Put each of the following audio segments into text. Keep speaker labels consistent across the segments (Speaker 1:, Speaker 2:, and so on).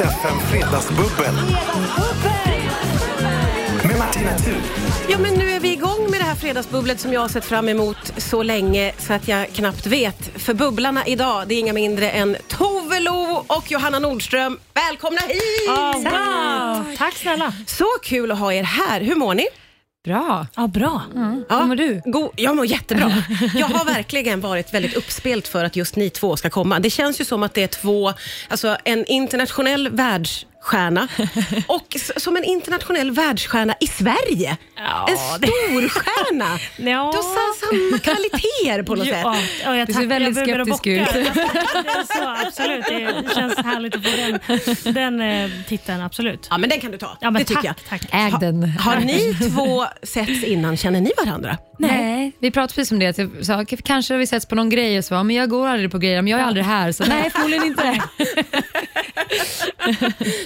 Speaker 1: FM Fredagsbubbel med Martina Thun.
Speaker 2: Ja, men nu är vi igång med det här fredagsbubblet som jag har sett fram emot så länge så att jag knappt vet. För bubblarna idag, det är inga mindre än Tove Lo och Johanna Nordström. Välkomna hit!
Speaker 3: wow. Tack snälla.
Speaker 2: Så kul att ha er här. Hur mår ni?
Speaker 3: Bra. Ja, bra.
Speaker 4: Mm.
Speaker 2: Ja,
Speaker 3: Hur mår du?
Speaker 2: God, jag mår jättebra. Jag har verkligen varit väldigt uppspelt för att just ni två ska komma. Det känns ju som att det är två, alltså en internationell världsstjärna och s- som en internationell världsstjärna i Sverige.
Speaker 3: Ja,
Speaker 2: en
Speaker 3: det-
Speaker 2: storstjärna.
Speaker 3: Ja.
Speaker 2: Du har sa- samma kvaliteter på något sätt.
Speaker 3: Ja, ja, jag
Speaker 4: Du ser
Speaker 3: tack-
Speaker 4: väldigt
Speaker 3: jag börjar
Speaker 4: skeptisk
Speaker 3: bocka.
Speaker 4: ut.
Speaker 3: Det är så, absolut. Det känns härligt att få den, den eh, titeln, absolut.
Speaker 2: Ja, men den kan du ta.
Speaker 3: Ja, men
Speaker 2: det
Speaker 3: tack,
Speaker 2: tycker jag.
Speaker 3: tack.
Speaker 4: Äg den.
Speaker 2: Har ni två setts innan? Känner ni varandra?
Speaker 4: Nej, vi pratade precis om det. att Jag sa, "K- kanske har vi setts på någon grej och så bara, men jag går aldrig på grejer, men jag är aldrig här. Så nej, förmodligen inte.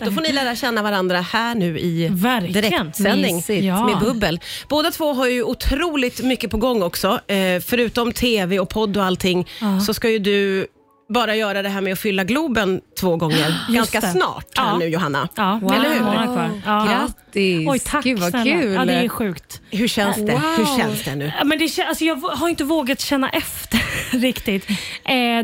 Speaker 2: Då får ni lära känna varandra här nu i
Speaker 3: Verkligen.
Speaker 2: direktsändning
Speaker 3: Mysigt. Ja.
Speaker 2: med bubbel. Båda två har ju otroligt mycket på gång också. Eh, förutom tv och podd och allting så ska ju du bara göra det här med att fylla Globen två gånger ganska
Speaker 3: det.
Speaker 2: snart här
Speaker 3: Ja.
Speaker 2: nu Johanna.
Speaker 3: Ja,
Speaker 4: Wow.
Speaker 3: eller hur? Månad kvar. Ja.
Speaker 4: Grattis.
Speaker 3: Oj, tack
Speaker 4: Gud, vad
Speaker 3: snälla.
Speaker 4: kul.
Speaker 3: Ja, det är sjukt.
Speaker 2: Hur känns det? Hur känns det nu?
Speaker 3: Ja, Men det, kän- alltså jag har inte vågat känna efter riktigt. Eh,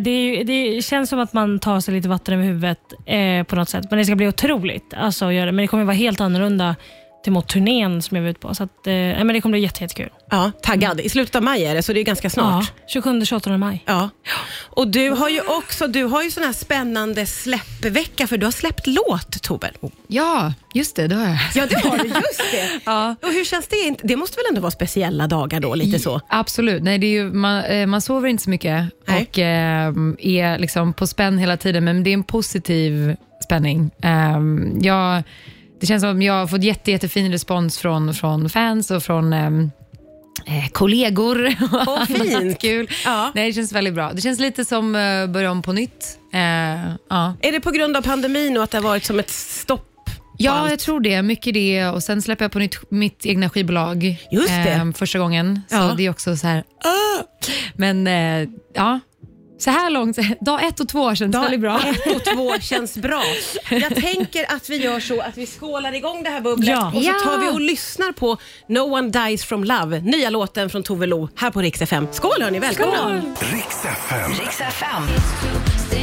Speaker 3: det, är ju, det känns som att man tar sig lite vatten över huvudet eh, på något sätt. Men det ska bli otroligt alltså, att göra det. Men det kommer vara helt annorlunda till mot turnén som jag var ute på. Så att, eh, nej, men det kommer bli jätte- jättekul.
Speaker 2: Ja, taggad. I slutet av maj är det, så det är ganska snart.
Speaker 3: Ja, 27-28 maj.
Speaker 2: Ja. Och du har ju också du har ju sån här spännande släppvecka för du har släppt låt Tobel.
Speaker 4: Ja, just det, det har jag.
Speaker 2: Ja, det har du. Just det.
Speaker 4: Ja.
Speaker 2: Och hur känns det? Det måste väl ändå vara speciella dagar då, lite så?
Speaker 4: Absolut. Nej, det är ju, man, eh, man sover inte så mycket
Speaker 2: Nej.
Speaker 4: och eh, är liksom på spänn hela tiden, men det är en positiv spänning. Eh, jag, det känns som att jag har fått jätte, jättefin respons från, från fans och från ehm, eh, kollegor.
Speaker 2: Åh, fint.
Speaker 4: Kul.
Speaker 2: Ja.
Speaker 4: Nej, det känns väldigt bra. Det känns lite som eh, börja om på nytt. Eh, ja.
Speaker 2: Är det på grund av pandemin och att det har varit som ett stopp?
Speaker 4: Ja,
Speaker 2: allt.
Speaker 4: jag tror det. Mycket det. Och sen släpper jag på nytt, mitt egna skivbolag ehm,
Speaker 2: Just det.
Speaker 4: första gången. Så
Speaker 2: Ja.
Speaker 4: det är också så här... "Åh!" Men eh, ja, så här långt. Dag ett och två känns väldigt bra.
Speaker 2: Ett och två känns bra. Jag tänker att vi gör så att vi skålar igång det här bubblet
Speaker 3: Ja.
Speaker 2: och så
Speaker 4: Ja.
Speaker 2: tar vi och lyssnar på No One Dies From Love, nya låten från Tove Lo här på Rix FM. Skål hörni, välkomna!
Speaker 1: Riks FM.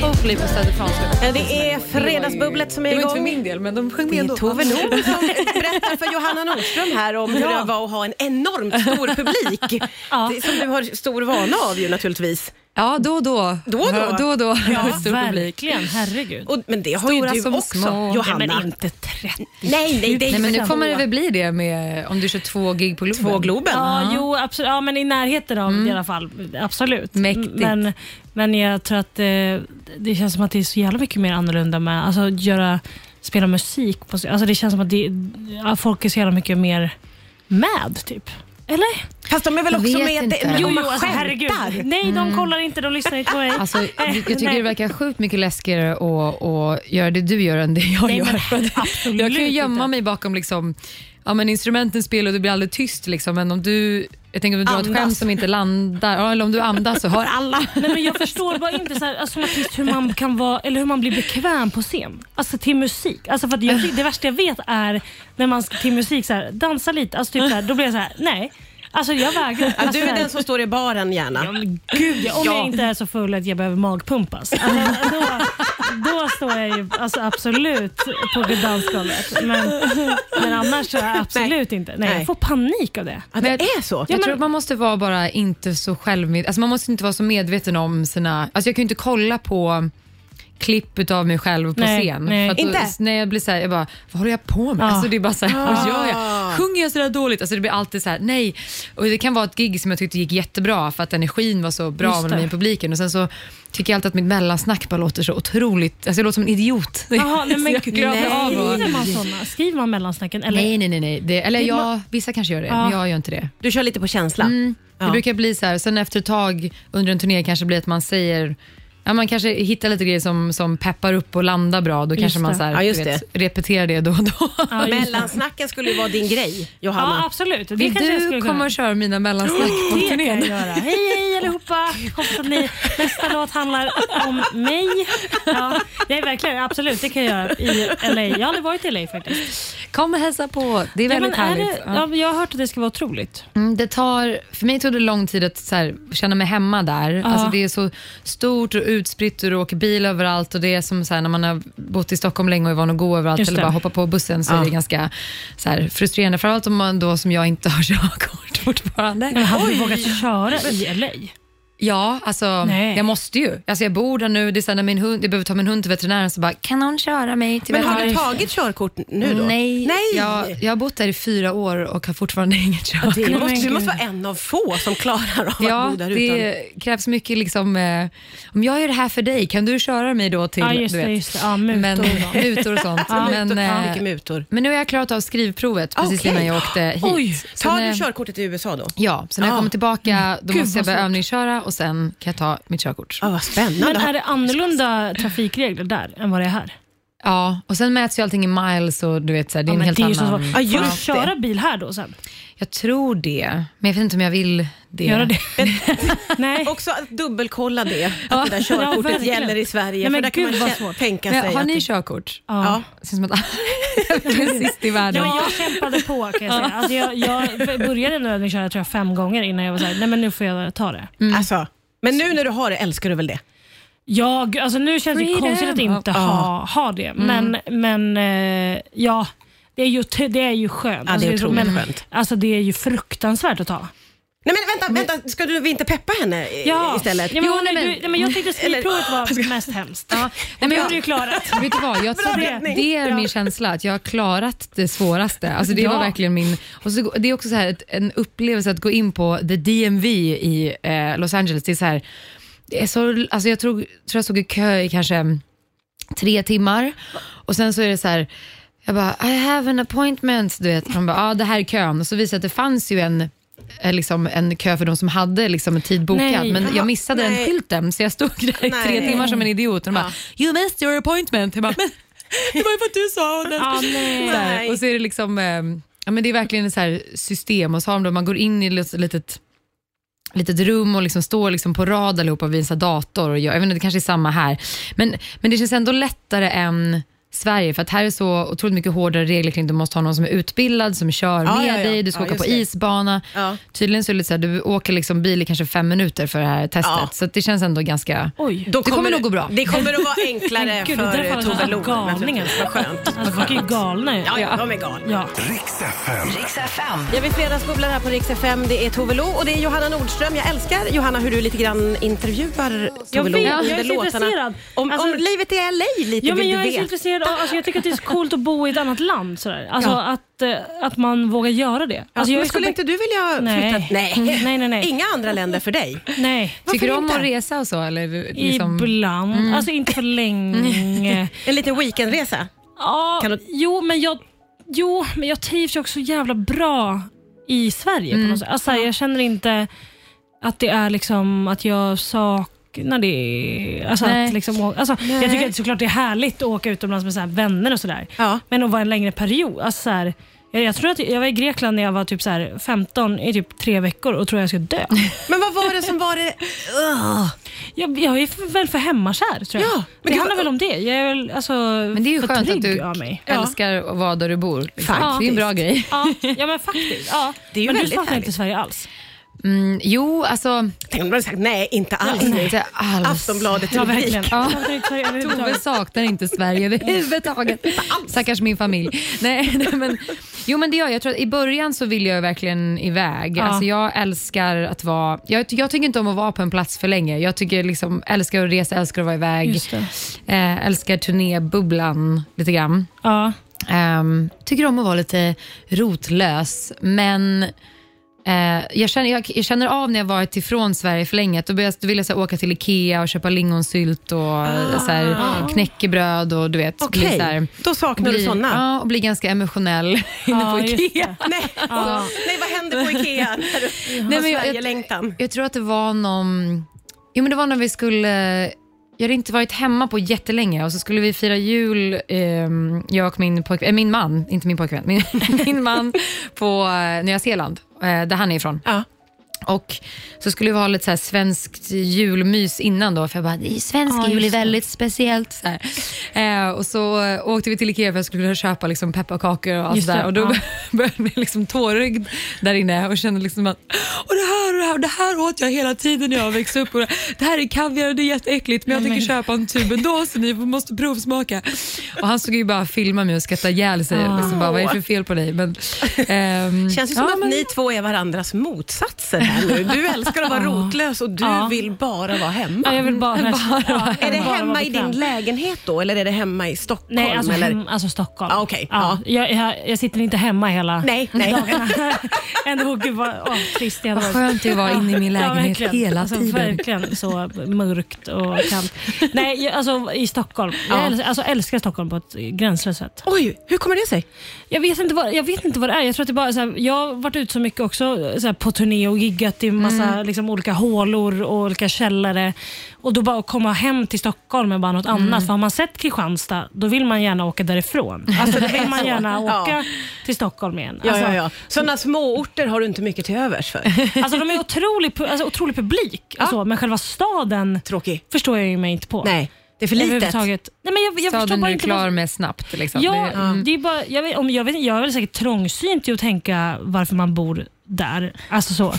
Speaker 4: Hopefully på Söder Franska.
Speaker 2: Eh, Det är Fredagsbubblet som är
Speaker 4: Det var inte för
Speaker 2: igång.
Speaker 4: min del, men de sjöng
Speaker 2: Det
Speaker 4: med
Speaker 2: är
Speaker 4: ändå.
Speaker 2: Tove Lo som berättar för Johanna Nordström här om hur det var att ha en enormt stor publik.
Speaker 3: Ja.
Speaker 2: Det- Som du har stor vana av ju naturligtvis.
Speaker 4: Ja, då och då.
Speaker 2: Då och då.
Speaker 4: Ja, då, och då. Stor publik.
Speaker 3: verkligen. Herregud.
Speaker 2: Och, men det har
Speaker 4: Stora
Speaker 2: ju du
Speaker 4: som
Speaker 2: också
Speaker 4: små.
Speaker 2: Johanna.
Speaker 3: Nej, men inte 30.
Speaker 2: nej, nej, det är
Speaker 4: Nej, men nu
Speaker 2: så-
Speaker 4: kommer det väl bli det med, om du kör två gig på Globen.
Speaker 2: Två Globen.
Speaker 3: Ja, jo, absolut. Ja, men i närheten av det i alla fall. Absolut.
Speaker 4: Mm. Mäktigt.
Speaker 3: Men, men jag tror att eh, det känns som att det är så jävla mycket mer annorlunda med alltså göra, spela musik. På, alltså det känns som att det, ja, folk är så jävla mycket mer med, typ. Eller? alltså,
Speaker 2: Fast de är väl
Speaker 4: Jag
Speaker 2: också
Speaker 4: vet
Speaker 2: med...
Speaker 4: inte.
Speaker 2: men
Speaker 4: Jo,
Speaker 2: de
Speaker 3: herregud. Nej, de kollar inte. De lyssnar inte på mig.
Speaker 4: Mm. Alltså, jag tycker
Speaker 3: Nej.
Speaker 4: det verkar sjukt mycket läskigare att, att göra det du gör än det jag
Speaker 3: Nej,
Speaker 4: gör.
Speaker 3: men
Speaker 4: För att
Speaker 3: absolut
Speaker 4: jag kan ju gömma
Speaker 3: inte.
Speaker 4: mig bakom liksom, ja, men instrumenten spelar och det blir aldrig tyst. Liksom, men om du, jag tänker om du drar ett
Speaker 2: Andas.
Speaker 4: skämt som inte landar, ja, eller om du andas så hör alla.
Speaker 3: Nej, men jag förstår bara inte så här, alltså, som artist hur man kan vara, eller hur man blir bekväm på scen. Alltså till musik. Alltså, för att jag, det värsta jag vet är när man ska till musik så här, dansa lite. Alltså, typ så här, då blir jag så här, nej. Alltså jag vägrar.
Speaker 2: Ja,
Speaker 3: Alltså,
Speaker 2: du
Speaker 3: så
Speaker 2: är
Speaker 3: här,
Speaker 2: den som står i baren
Speaker 3: ja,
Speaker 2: gärna.
Speaker 3: men Gud, ja, om jag inte är så full att jag behöver magpumpas. Alltså, då, då står jag ju alltså, absolut på dansgolvet. Men, men annars så är jag absolut inte. Nej,
Speaker 2: Nej.
Speaker 3: jag får panik av det.
Speaker 2: Ja, det
Speaker 4: Men-
Speaker 2: är så.
Speaker 4: Jag
Speaker 3: men-
Speaker 4: tror att man måste vara bara inte så självmedveten. Alltså man måste inte vara så medveten om sina... Alltså jag kan ju inte kolla på klipp av mig själv på
Speaker 3: Nej,
Speaker 4: scen.
Speaker 3: nej.
Speaker 4: För att
Speaker 2: Inte?
Speaker 4: Då, när jag blir såhär, jag bara, vad håller jag på med?
Speaker 3: Ja.
Speaker 4: Alltså det är bara såhär, vad gör jag? Sjunger jag sådär dåligt? Alltså det blir alltid såhär, nej. Och det kan vara ett gig som jag tyckte gick jättebra för att energin var så bra
Speaker 3: Just det.
Speaker 4: mellan mig och publiken. Och sen så tycker jag alltid att mitt mellansnack bara låter så otroligt, alltså jag låter som en idiot.
Speaker 3: Jaha, nej,
Speaker 4: Så
Speaker 3: men,
Speaker 4: jag glömmer
Speaker 2: nej.
Speaker 4: av och,
Speaker 3: skriver man såna? Skriver man mellansnacken? Eller?
Speaker 4: Nej, nej, nej. nej. Det, eller ja, vissa kanske gör det, men jag gör inte det.
Speaker 2: Du kör lite på känsla.
Speaker 4: Det
Speaker 2: Ja.
Speaker 4: brukar bli så här, sen efter ett tag under en turné kanske blir att man säger Ja, man kanske hittar lite grejer som, som peppar upp och landar bra. Då kanske man
Speaker 3: det.
Speaker 4: så här,
Speaker 2: Ja,
Speaker 4: du
Speaker 2: just
Speaker 4: vet, repeterar det då och då.
Speaker 3: Ja, just det.
Speaker 2: Mellansnacken skulle ju vara din grej,
Speaker 3: Ja,
Speaker 2: Johanna.
Speaker 3: absolut. Det
Speaker 4: Vill
Speaker 3: kanske jag skulle
Speaker 4: du
Speaker 3: kunna.
Speaker 4: komma och köra mina mellansnack på
Speaker 3: Det kan jag
Speaker 4: turnén?
Speaker 3: göra. Hej hej allihopa, allihopa. Hoppas att ni, nästa låt handlar om mig. Ja, det är verkligen, absolut, det kan jag göra i LA. Jag har aldrig varit i LA faktiskt.
Speaker 4: Kom och hälsa på. Det är
Speaker 3: Ja, men
Speaker 4: väldigt
Speaker 3: är
Speaker 4: härligt.
Speaker 3: det,
Speaker 4: Ja.
Speaker 3: ja, men jag har hört att det ska vara otroligt.
Speaker 4: Mm, det tar, för mig tog det lång tid att så här, känna mig hemma där. Alltså, det är så stort och utspritt och du åker bil överallt. Och det är som så här, när man har bott i Stockholm länge och är van att gå överallt
Speaker 3: Just
Speaker 4: eller
Speaker 3: det.
Speaker 4: bara hoppa på bussen så
Speaker 2: Ja.
Speaker 4: är det ganska så här, frustrerande. Framförallt om man då som jag inte har körkort fortfarande.
Speaker 3: Men hade du vågat köra i LA?
Speaker 4: Ja, alltså
Speaker 3: Nej.
Speaker 4: jag måste ju. Alltså, jag bor där nu, det är så här, när min hund, jag behöver ta min hund till veterinären så bara, kan någon köra mig till
Speaker 2: Men har
Speaker 4: veterinären?
Speaker 2: du tagit körkort nu då?
Speaker 4: Nej,
Speaker 2: Nej.
Speaker 4: Jag, jag har bott där i fyra år och har fortfarande inget körkort.
Speaker 2: Det
Speaker 3: Nej,
Speaker 2: måste,
Speaker 3: men
Speaker 2: du måste
Speaker 3: gud.
Speaker 2: vara en av få som klarar av att
Speaker 4: Ja,
Speaker 2: bo där utan.
Speaker 4: det krävs mycket liksom, eh, om jag gör det här för dig, kan du köra mig då till,
Speaker 3: Ja, just
Speaker 4: du
Speaker 3: det.
Speaker 4: vet,
Speaker 3: Just det. Ja, mutor
Speaker 4: men,
Speaker 3: och sånt.
Speaker 4: mutor och sånt.
Speaker 3: Ja,
Speaker 4: men,
Speaker 2: Mutor, ja,
Speaker 4: eh,
Speaker 2: mycket mutor.
Speaker 4: men nu har jag klarat av skrivprovet precis
Speaker 2: Okej.
Speaker 4: innan jag åkte hit.
Speaker 2: Oj,
Speaker 4: Sen,
Speaker 2: tar
Speaker 4: eh,
Speaker 2: du körkortet i USA då?
Speaker 4: Ja, så när jag
Speaker 2: Ah.
Speaker 4: kommer tillbaka då
Speaker 3: Gud,
Speaker 4: måste jag
Speaker 3: vad
Speaker 4: börja
Speaker 3: svårt.
Speaker 4: övningsköra och sen kan jag ta mitt körkort.
Speaker 2: Ja, vad spännande.
Speaker 3: Men är det annorlunda trafikregler där än vad det är här?
Speaker 4: Ja, och sen mäts ju allting i miles och du vet, så här, det är en helt
Speaker 3: det är ju så
Speaker 4: annan...
Speaker 3: svårt.
Speaker 2: Ja,
Speaker 3: Får du
Speaker 2: just det.
Speaker 3: köra bil här då sen?
Speaker 4: Jag tror det, men jag vet inte om jag vill det.
Speaker 3: Göra det? Nej.
Speaker 2: Också att dubbelkolla det, att det där
Speaker 3: Ja,
Speaker 2: körkortet
Speaker 3: verkligen.
Speaker 2: gäller i Sverige.
Speaker 3: Nej, men
Speaker 2: för där kan
Speaker 3: gud,
Speaker 2: man
Speaker 3: vad
Speaker 2: kä-
Speaker 3: svårt.
Speaker 2: tänka sig
Speaker 4: Men, har
Speaker 2: att
Speaker 4: ni
Speaker 2: det-
Speaker 4: körkort?
Speaker 2: Ja.
Speaker 4: Det känns som att jag är verkligen sist i världen.
Speaker 3: Ja, jag kämpade på kan jag säga. Alltså, jag, jag började nog övningsköra tror jag, fem gånger innan jag var såhär, nej men nu får jag ta det.
Speaker 2: Alltså, men nu när du har det älskar du väl det?
Speaker 3: Jag, alltså, nu känns det ju
Speaker 4: Freedom.
Speaker 3: konstigt att inte ha, ha det,
Speaker 2: Mm.
Speaker 3: men, men eh, ja, det är ju, t- det är ju skönt.
Speaker 2: Ja, det är
Speaker 3: så-
Speaker 2: otroligt
Speaker 3: men,
Speaker 2: skönt.
Speaker 3: Alltså, det är ju fruktansvärt att ta.
Speaker 2: Nej men vänta, vänta. ska du inte peppa henne i- istället?
Speaker 3: Ja, men,
Speaker 4: Jo,
Speaker 3: hon,
Speaker 4: nej, men-
Speaker 3: du, nej, men jag tyckte
Speaker 2: Eller-
Speaker 3: skrivprovet var mest hemskt.
Speaker 4: Ja,
Speaker 3: Men
Speaker 4: men
Speaker 3: jag
Speaker 4: jag-
Speaker 3: har ju klarat.
Speaker 4: Vet du vad, jag tror det,
Speaker 2: räddning.
Speaker 4: det är
Speaker 3: Ja.
Speaker 4: min känsla, att jag har klarat det svåraste. Alltså det var
Speaker 3: Ja.
Speaker 4: verkligen min... Och så, det är också så här, ett, en upplevelse att gå in på the DMV i eh, Los Angeles. Det är så här, det är så, alltså jag tror, tror jag stod i kö i kanske tre timmar och sen så är det så här, jag bara I have an appointment, du vet. Man bara, ja ah, det här är kön. Och så visade det att det fanns ju en eh, Liksom en kö för de som hade liksom en tid bokad,
Speaker 3: Nej.
Speaker 4: men
Speaker 2: Jaha,
Speaker 4: jag missade den
Speaker 2: nej.
Speaker 4: skylten så jag stod där i tre
Speaker 2: Nej.
Speaker 4: timmar som en idiot och de bara “You missed your appointment”. Jag bara, men det var ju för att du sa och den
Speaker 3: Ja, nej.
Speaker 4: så här,
Speaker 2: Nej.
Speaker 4: och så är det liksom, eh, ja, men det är verkligen ett så här system och så har de då, man går in i ett litet, litet rum och liksom står liksom på rad allihopa vid en sån här dator. Och jag, jag vet inte, det kanske är samma här. Men, men det känns ändå lättare än Sverige, för att här är så otroligt mycket hårdare regler kring att du måste ha någon som är utbildad, som kör
Speaker 2: Ja,
Speaker 4: med
Speaker 2: ja, ja.
Speaker 4: dig, du ska
Speaker 2: Ja,
Speaker 4: åka på
Speaker 2: just det.
Speaker 4: isbana.
Speaker 2: Ja.
Speaker 4: Tydligen så är det lite så här, du åker liksom bil i kanske fem minuter för det här testet,
Speaker 2: Ja.
Speaker 4: så att det känns ändå ganska...
Speaker 3: Oj.
Speaker 2: Då
Speaker 4: Det kommer nog gå bra.
Speaker 2: Det kommer att vara enklare
Speaker 3: Men gud, det där
Speaker 2: för
Speaker 3: faller
Speaker 2: eh,
Speaker 3: så
Speaker 2: Tove
Speaker 3: här
Speaker 2: Lo.
Speaker 3: galningar.
Speaker 2: naturligtvis. Vad skönt.
Speaker 3: Alltså, folk är ju galna ju.
Speaker 2: Ja, ja, de är galna.
Speaker 3: Ja.
Speaker 1: Riks FM.
Speaker 2: Jag vill fredagsbubblar här på Rix FM. Det är Tove Lo och det är Johanna Nordström. Jag älskar Johanna hur du lite grann intervjuar
Speaker 3: Jag
Speaker 2: Tove Lo.
Speaker 3: vet, jag är
Speaker 2: under
Speaker 3: så intresserad.
Speaker 2: Om,
Speaker 3: Alltså-
Speaker 2: om livet i LA lite
Speaker 3: Ja,
Speaker 2: vill
Speaker 3: men jag
Speaker 2: du
Speaker 3: är så
Speaker 2: veta.
Speaker 3: intresserad av, alltså, jag tycker att det är så coolt att bo i ett annat land. Sådär. Alltså,
Speaker 2: Ja.
Speaker 3: att, eh, att man vågar göra det.
Speaker 2: Ja,
Speaker 3: Alltså, jag är
Speaker 2: men
Speaker 3: så
Speaker 2: skulle
Speaker 3: be-
Speaker 2: inte du vilja
Speaker 3: Nej.
Speaker 2: flytta?
Speaker 3: Mm, nej, nej, nej.
Speaker 2: Inga andra länder för dig?
Speaker 3: Nej.
Speaker 4: Tycker du
Speaker 2: Varför
Speaker 4: om
Speaker 2: inte?
Speaker 4: att resa och så? Eller liksom...
Speaker 3: Ibland.
Speaker 2: Mm.
Speaker 3: Alltså inte för länge.
Speaker 2: En liten weekendresa?
Speaker 3: ja,
Speaker 2: Kan du-
Speaker 3: jo, men jag, jo, men jag trivs ju också jävla bra i Sverige.
Speaker 4: Mm.
Speaker 3: På något sätt. Alltså, Jag känner inte att det är liksom att jag saknar det. Alltså,
Speaker 4: Nej.
Speaker 3: att liksom, å- alltså, jag
Speaker 2: Nej.
Speaker 3: tycker att såklart det är härligt att åka utomlands med så här vänner och sådär.
Speaker 2: Ja.
Speaker 3: Men att vara en längre period. Alltså, så här, jag, jag tror att jag var i Grekland när jag var typ så här 15 i typ tre veckor och trodde jag skulle dö.
Speaker 2: Men vad var det som var det... Ugh.
Speaker 3: Jag, jag är för, väl för hemmakär tror jag.
Speaker 2: Ja, men
Speaker 3: det
Speaker 2: gud,
Speaker 3: handlar
Speaker 2: vad-
Speaker 3: väl om det. Jag är väl alltså,
Speaker 4: Men det är ju
Speaker 3: för
Speaker 4: skönt
Speaker 3: trygg
Speaker 4: att du
Speaker 3: av mig.
Speaker 4: älskar att vara där du bor. Liksom.
Speaker 2: Faktiskt.
Speaker 4: Det är en bra grej.
Speaker 3: Ja, ja men faktiskt. Ja.
Speaker 2: Det är ju
Speaker 3: men du
Speaker 2: väldigt
Speaker 3: saknar inte
Speaker 2: härligt.
Speaker 3: Sverige alls?
Speaker 4: Mm, jo, alltså...
Speaker 2: Tänk om du hade sagt Alltså, nej, inte alls.
Speaker 4: Inte alls.
Speaker 2: Aftonbladet
Speaker 3: Ja,
Speaker 2: rubrik.
Speaker 3: verkligen.
Speaker 4: Ja.
Speaker 3: Saknar inte Sverige
Speaker 4: Tove
Speaker 3: överhuvudtaget.
Speaker 4: saknar inte Sverige överhuvudtaget. Stackars min familj. Nej, nej, men, jo men det gör jag. jag. tror att I början så vill jag verkligen iväg.
Speaker 3: Ja.
Speaker 4: Alltså, jag älskar att vara... Jag, jag tycker inte om att vara på en plats för länge. Jag tycker liksom, älskar att resa, älskar att vara iväg.
Speaker 3: Just det.
Speaker 4: Eh, älskar turnébubblan lite grann.
Speaker 3: Ja.
Speaker 4: Ehm, tycker om att vara lite rotlös, men eh, jag, känner, jag, jag känner av när jag varit ifrån Sverige för länge. att Då, börjar, jag- då vill jag så här, åka till Ikea och köpa lingonsylt och så här, knäckebröd och du vet.
Speaker 2: Ah. Okej,
Speaker 4: bli så här-
Speaker 2: då saknar du
Speaker 4: bli-
Speaker 2: såna.
Speaker 4: Ja, och bli ganska emotionell inne på
Speaker 3: Ja, just
Speaker 4: Ikea.
Speaker 2: Nej. nej, vad händer på Ikea när du har
Speaker 4: Nej, men jag-
Speaker 2: Sverige-längtan?
Speaker 4: Jag tror att det var någon... Jo, men det var när vi skulle... Jag hade inte varit hemma på jättelänge och så skulle vi fira jul, ehm, jag och min pojkvän, äh, min man, inte min pojkvän, min, min man på eh, Nya Zeeland, eh, där eh, han är ifrån.
Speaker 2: Ja.
Speaker 4: Och så skulle vi ha lite så här svenskt julmys innan då, för jag bara, "Det är svensk
Speaker 3: Ja, just
Speaker 4: jul är
Speaker 3: det.
Speaker 4: väldigt speciellt. Så här. Eh, och så eh, åkte vi till Ikea för jag skulle köpa liksom, pepparkakor och allt
Speaker 3: Just
Speaker 4: sådär.
Speaker 3: det,
Speaker 4: Och då
Speaker 3: ja.
Speaker 4: började jag liksom tårögd där inne och kände liksom att, och det här och det här, och det här åt jag hela tiden när jag växte upp. Och det- det här är kaviar och det är jätteäckligt, men jag tänker köpa en tub ändå så ni måste provsmaka. Och han stod ju bara och filmade mig och skrattade ihjäl sig.
Speaker 3: Ah.
Speaker 4: Liksom bara, vad är det för fel på dig? Men, ehm,
Speaker 2: Känns ju som
Speaker 4: ja,
Speaker 2: att
Speaker 4: men-
Speaker 2: ni två är varandras motsatser här nu. Du älskar att vara rotlös och du
Speaker 3: Ja.
Speaker 2: vill bara vara
Speaker 3: Ja,
Speaker 2: hemma.
Speaker 3: jag vill bara, Ja, jag
Speaker 2: Är det
Speaker 3: vill bara vara
Speaker 2: hemma i din
Speaker 3: bekväm.
Speaker 2: lägenhet då eller är det hemma i Stockholm?
Speaker 3: Nej, alltså,
Speaker 2: eller?
Speaker 3: hem, alltså Stockholm.
Speaker 2: Ja, okej.
Speaker 3: Jag, jag, jag sitter inte hemma hela
Speaker 2: Nej, nej.
Speaker 3: dagarna. Ändå, gud vad åh, trist det hade
Speaker 4: Vad
Speaker 3: varit.
Speaker 4: skönt det var inne i min lägenhet
Speaker 3: verkligen.
Speaker 4: hela
Speaker 3: alltså,
Speaker 4: tiden.
Speaker 3: Verkligen så mörkt och kallt. Nej, jag- alltså i Stockholm. Jag
Speaker 2: Ja.
Speaker 3: älskar, alltså, älskar Stockholm på ett gränslöst sätt.
Speaker 2: Oj, hur kommer det sig?
Speaker 3: Jag vet inte vad, jag vet inte vad det är. Jag, tror att det bara, är så här, jag har varit ut så mycket också så här, på turné och giggat i massa
Speaker 2: Mm.
Speaker 3: liksom, olika hålor och olika källare. Och då bara att komma hem till Stockholm är bara något
Speaker 2: Mm.
Speaker 3: annat. För har man sett Kristianstad, då vill man gärna åka därifrån. Alltså, då vill man gärna
Speaker 2: Ja.
Speaker 3: åka till Stockholm igen.
Speaker 2: Ja,
Speaker 3: Alltså,
Speaker 2: ja, ja. Sådana småorter har du inte mycket till övers för.
Speaker 3: alltså, de är otrolig, pu- alltså, otrolig publik, och så, men själva staden
Speaker 2: Tråkig.
Speaker 3: förstår jag ju mig inte på.
Speaker 2: Nej, det är för litet.
Speaker 3: Överhuvudtaget. Nej, men jag, jag förstår
Speaker 4: Staden
Speaker 3: bara
Speaker 4: är du
Speaker 3: inte vad-
Speaker 4: klar med snabbt. Liksom.
Speaker 3: Ja,
Speaker 4: Det-
Speaker 2: Mm.
Speaker 3: det är bara, jag, vet, om, jag, vet, jag är väl säkert trångsynt i att tänka varför man bor där. Alltså så.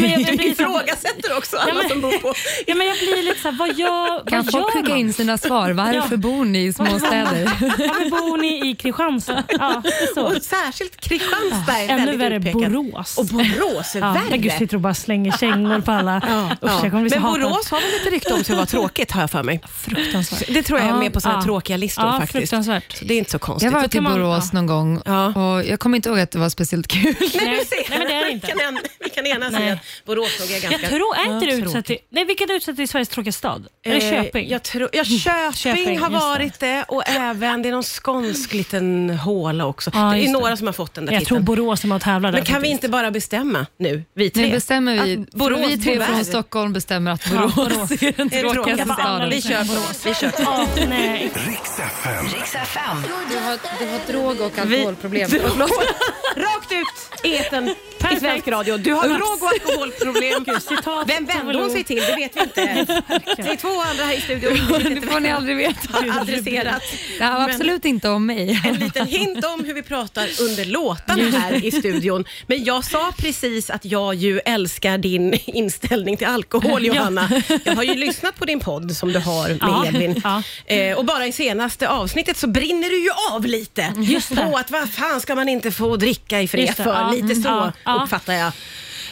Speaker 3: men jag, jag
Speaker 2: Du
Speaker 3: blir så här-
Speaker 2: ifrågasätter också alla
Speaker 3: Ja, men-
Speaker 2: som bor på...
Speaker 3: Ja, men jag blir lite såhär, vad gör, vad
Speaker 4: Kan
Speaker 3: gör
Speaker 4: folk skicka
Speaker 3: man?
Speaker 4: in sina svar? Varför
Speaker 3: Ja.
Speaker 4: bor ni i småstäder?
Speaker 3: Ja, men bor ni i Kristianstad? Ja, så.
Speaker 2: Och särskilt Kristianstad är
Speaker 3: Ännu
Speaker 2: väldigt
Speaker 3: värre
Speaker 2: utpekat.
Speaker 3: Borås.
Speaker 2: Och Borås är
Speaker 3: Ja, men gud,
Speaker 2: värre.
Speaker 3: sitter och bara slänger kängor på alla.
Speaker 2: Ja,
Speaker 3: Usch,
Speaker 2: ja.
Speaker 3: jag kommer bli så
Speaker 2: Men
Speaker 3: hatad.
Speaker 2: Borås har väl lite rykte om sig att vara tråkigt har jag för mig.
Speaker 3: Fruktansvärt.
Speaker 2: Det tror jag är
Speaker 3: Ja,
Speaker 2: med på såna här
Speaker 3: ja.
Speaker 2: tråkiga listor
Speaker 3: ja,
Speaker 2: faktiskt.
Speaker 3: Fruktansvärt. typ-
Speaker 2: Så det är inte så konstigt.
Speaker 4: Jag var
Speaker 3: då
Speaker 4: till
Speaker 3: kan man-
Speaker 4: Borås någon gång
Speaker 2: Ja.
Speaker 4: och jag kommer inte ihåg att det var speciellt kul.
Speaker 3: Nej,
Speaker 2: Du ser,
Speaker 3: nej, men det är det inte.
Speaker 2: Vi kan, en, vi kan enas i
Speaker 3: Nej.
Speaker 2: att Borås nog är ganska...
Speaker 3: Jag tror, är inte det
Speaker 2: Ja,
Speaker 3: utsatt till, nej, vilken är utsatt till Sveriges tråkigaste stad? Är det
Speaker 2: Eh,
Speaker 3: Köping? Mm.
Speaker 2: Jag tror, ja, Köping,
Speaker 3: Köping,
Speaker 2: har
Speaker 3: just det.
Speaker 2: varit det och även det är någon skånsk liten håla också.
Speaker 3: Ja,
Speaker 2: det är
Speaker 3: just det.
Speaker 2: några som har fått den där
Speaker 3: Jag tror
Speaker 2: titeln.
Speaker 3: Borås är med och tävlar där
Speaker 2: Men kan vi
Speaker 3: faktiskt.
Speaker 2: inte bara bestämma nu, vi tre?
Speaker 4: Nu bestämmer vi,
Speaker 2: Att Borås
Speaker 4: vi tre
Speaker 2: bor
Speaker 4: från
Speaker 2: där.
Speaker 4: Stockholm bestämmer att Borås
Speaker 3: Borås.
Speaker 4: är den
Speaker 2: Är det
Speaker 4: tråkigaste
Speaker 2: tråkigt?
Speaker 4: staden.
Speaker 2: Vi kör Borås. Vi kör.
Speaker 3: Ja, nej.
Speaker 1: Riks FM.
Speaker 4: Du har, du har drog och
Speaker 2: Vi-
Speaker 4: alkoholproblem.
Speaker 2: Du- Rakt ut i etern i
Speaker 3: Perfekt.
Speaker 2: svensk radio. Du har drog och alkoholproblem.
Speaker 3: citat
Speaker 2: Vem vände hon sig till? Det vet vi inte. Det är två andra här i studion.
Speaker 4: Det får ni aldrig veta.
Speaker 2: har adresserat.
Speaker 4: Det här var
Speaker 2: Men-
Speaker 4: absolut inte om mig.
Speaker 2: en liten hint om hur vi pratar under låtarna
Speaker 3: Mm.
Speaker 2: här i studion. Men jag sa precis att jag ju älskar din inställning till alkohol, Johanna. Jag har ju lyssnat på din podd som du har med
Speaker 3: Ja,
Speaker 2: Edvin.
Speaker 3: ja.
Speaker 2: Eh, och bara i senaste avsnittet så brinner du ju av lite
Speaker 3: Mm, Just det.
Speaker 2: på att vad fan ska man inte få dricka i fred
Speaker 3: Just det,
Speaker 2: för?
Speaker 3: ja,
Speaker 2: Lite
Speaker 3: mm,
Speaker 2: så
Speaker 3: ja, ja.
Speaker 2: uppfattar jag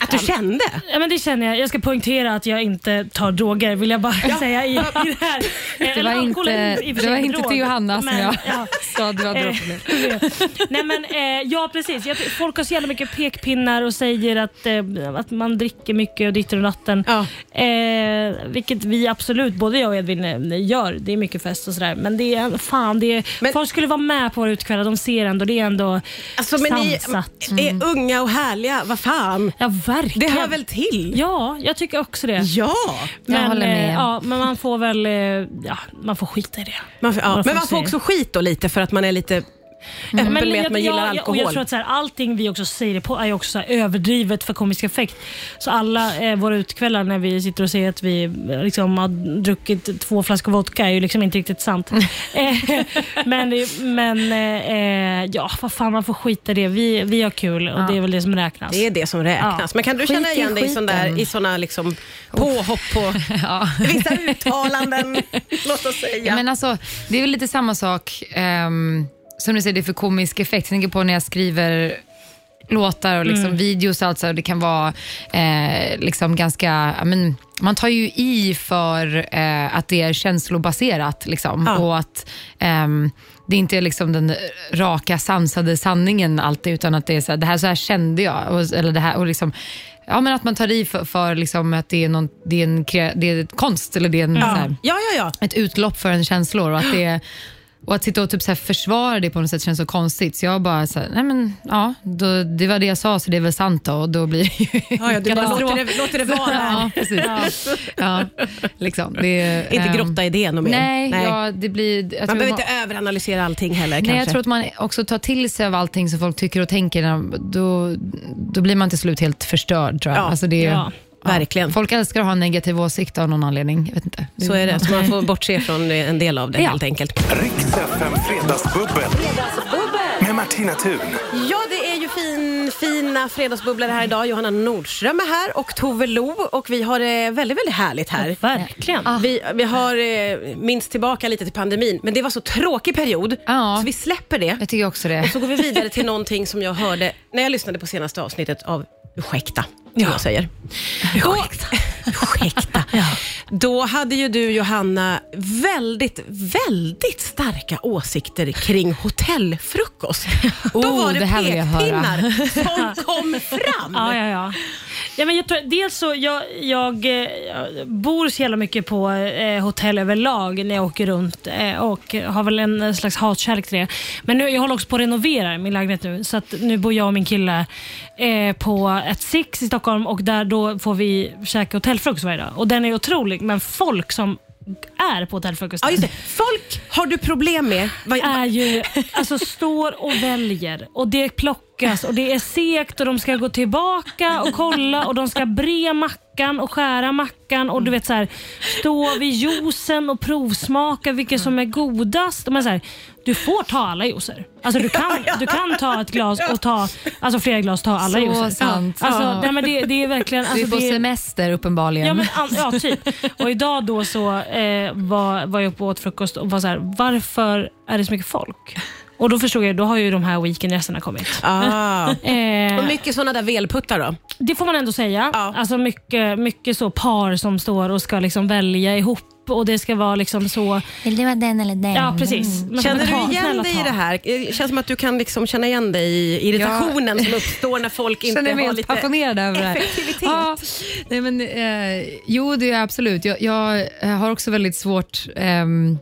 Speaker 2: att du kände.
Speaker 3: Ja, men det känner jag. Jag ska poängtera att jag inte tar droger, vill jag bara säga i, i det här.
Speaker 4: Det var inte, det var inte till Johanna som jag sa att du har drogproblem.
Speaker 3: Eh, Nej men eh, ja precis. Jag, folk har så jävla mycket pekpinnar och säger att, eh, att man dricker mycket och ditten och datten.
Speaker 2: Ja.
Speaker 3: Eh, vilket vi absolut, både jag och Edvin eh, gör. Det är mycket fest och sådär. Men det är, fan, det är,
Speaker 2: Men-
Speaker 3: folk skulle vara med på våra utekvällar. De ser ändå, det är ändå
Speaker 2: Alltså, men ni
Speaker 3: sansat. Mm.
Speaker 2: är unga och härliga, vad fan.
Speaker 3: Ja,
Speaker 2: Det
Speaker 3: verkligen.
Speaker 2: hör väl till?
Speaker 3: Ja, jag tycker också det.
Speaker 2: Ja!
Speaker 3: Men,
Speaker 4: håller med.
Speaker 3: eh, Ja, men man får väl eh, ja, man får skita i det.
Speaker 2: Man, får- ja.
Speaker 3: Man får
Speaker 2: Men man får
Speaker 3: se.
Speaker 2: också skit då lite för att man är lite öppen
Speaker 3: Men
Speaker 2: med att
Speaker 3: jag-
Speaker 2: man gillar
Speaker 3: ja, jag-
Speaker 2: alkohol.
Speaker 3: Och jag tror att så här, allting vi också säger på är ju också så här, överdrivet för komisk effekt. Så alla eh, våra utkvällar när vi sitter och säger att vi eh, liksom, har druckit två flaskor vodka är ju liksom inte riktigt sant. Eh, men det- men eh, eh, ja, vad fan man får skita i det. Vi, vi har kul och det är väl det som räknas.
Speaker 2: Det är det som räknas.
Speaker 3: Ja.
Speaker 2: Men kan du
Speaker 4: Skit
Speaker 2: känna
Speaker 4: i
Speaker 2: igen dig i sån där-
Speaker 4: skiten.
Speaker 2: i sådana liksom påhopp på vissa uttalanden? låt oss säga.
Speaker 4: Ja. Men alltså, det är väl lite samma sak ehm, som du säger, det är för komisk effekt. Jag tänker på när jag skriver låtar och liksom
Speaker 2: Mm.
Speaker 4: videos och allt så här, och det kan vara eh, liksom ganska, ja, men, man tar ju i för eh, att det är känslobaserat liksom,
Speaker 2: Ja.
Speaker 4: och att ehm, det inte är liksom den raka sansade sanningen alltid utan att det är så här, det här, så här kände jag. Och, eller det här, och liksom, ja, men att man tar i för, för liksom att det är, någon, det är, en, kre- det är konst eller det är en så här,
Speaker 2: ja, ja, ja.
Speaker 4: ett utlopp för en känslor och att det är Och att sitta och typ så här försvara det på något sätt känns så konstigt. Så jag bara, så här, nej men ja, då, det var det jag sa så det är väl sant då. Och då blir det ju
Speaker 2: Ja, ja, du bara
Speaker 4: katastrof.
Speaker 2: låter det, låter det vara.
Speaker 4: Ja, precis. Ja, liksom. det,
Speaker 2: Inte
Speaker 4: ehm,
Speaker 2: grotta i det ännu mer.
Speaker 4: Nej, Ja, det blir... Jag
Speaker 2: Man
Speaker 4: tror
Speaker 2: behöver
Speaker 4: man-
Speaker 2: inte överanalysera allting heller
Speaker 4: Nej,
Speaker 2: kanske.
Speaker 4: jag tror att man också tar till sig av allting som folk tycker och tänker. när- Då, då blir man till slut helt förstörd tror jag.
Speaker 2: Ja,
Speaker 4: Alltså, det är,
Speaker 3: ja,
Speaker 2: verkligen.
Speaker 4: Folk älskar att ha en negativ åsikt av någon anledning. Jag vet inte.
Speaker 2: Så är det. Så man får bortse från en del av det helt enkelt.
Speaker 1: Riks FM Fredagsbubbel. Med Martina Thun.
Speaker 2: Ja, det är ju fin, fina fredagsbubblor här idag. Johanna Nordström är här och Tove Lo och vi har det väldigt, väldigt härligt här.
Speaker 3: verkligen.
Speaker 4: Ah.
Speaker 2: Vi, vi har eh, minst tillbaka lite till pandemin, men det var så tråkig period
Speaker 4: Ja.
Speaker 2: så vi släpper det.
Speaker 4: Jag tycker också det.
Speaker 2: Så går vi vidare till någonting som jag hörde när jag lyssnade på senaste avsnittet av Ursäkta, som jag säger. Då, ursäkta. Då hade ju du, Johanna, väldigt, väldigt starka åsikter kring hotellfrukost. Då
Speaker 4: Oh,
Speaker 2: var det,
Speaker 4: det här vill jag höra.
Speaker 2: pekpinnar som kom fram.
Speaker 3: Ja, ja, ja. ja men jag tror, dels så, jag, jag, eh, jag bor så jävla mycket på eh, hotell överlag när jag åker runt eh, och har väl en eh, slags hatkärlek till det. Men nu, jag håller också på att renovera min lägenhet nu, så att nu bor jag och min kille eh, på ett Six i Stockholm och där då får vi käka hotellfrukost varje dag. Och den är otrolig, men folk som är på hotellfrukost
Speaker 2: Ja, just det. Folk har du problem med. Vad-
Speaker 3: är ju, alltså står och väljer och det plockas och det är segt och de ska gå tillbaka och kolla och de ska bre mackan och skära mackan och du vet så här, stå vid juicen och provsmaka vilka som är godast. Men så här, du får ta alla juicer. Alltså du kan, du kan ta ett glas och ta, alltså flera glas ta alla
Speaker 4: Så
Speaker 3: juicer.
Speaker 4: sant.
Speaker 3: Alltså,
Speaker 4: Ja.
Speaker 3: nej, men det, det är verkligen...
Speaker 4: Du
Speaker 3: Alltså,
Speaker 4: är på
Speaker 3: det är-
Speaker 4: semester uppenbarligen.
Speaker 3: Ja, men, an- ja typ. Och idag då så eh, var, var jag uppe och åt frukost och var så här, varför är det så mycket folk? Och då förstod jag, då har ju de här weekendresorna kommit.
Speaker 2: Ah. Och
Speaker 3: Eh,
Speaker 2: mycket sådana där velputtar då.
Speaker 3: det får man ändå säga.
Speaker 2: Ja.
Speaker 3: Alltså mycket, mycket så par som står och ska liksom välja ihop och det ska vara liksom så.
Speaker 5: Vill du ha den eller den?
Speaker 3: Ja, precis. Men
Speaker 2: Känner
Speaker 3: ta,
Speaker 2: du igen
Speaker 3: snälla
Speaker 2: dig
Speaker 3: ta.
Speaker 2: i det här? Eh, Det känns som att du kan liksom känna igen dig i irritationen som uppstår när folk inte
Speaker 4: känner mig
Speaker 2: har
Speaker 4: helt
Speaker 2: lite...
Speaker 4: passionerad över det här.
Speaker 2: effektivitet.
Speaker 4: Ja, nej men, eh, jo, det är jag absolut. Jag, jag eh, har också väldigt svårt ehm,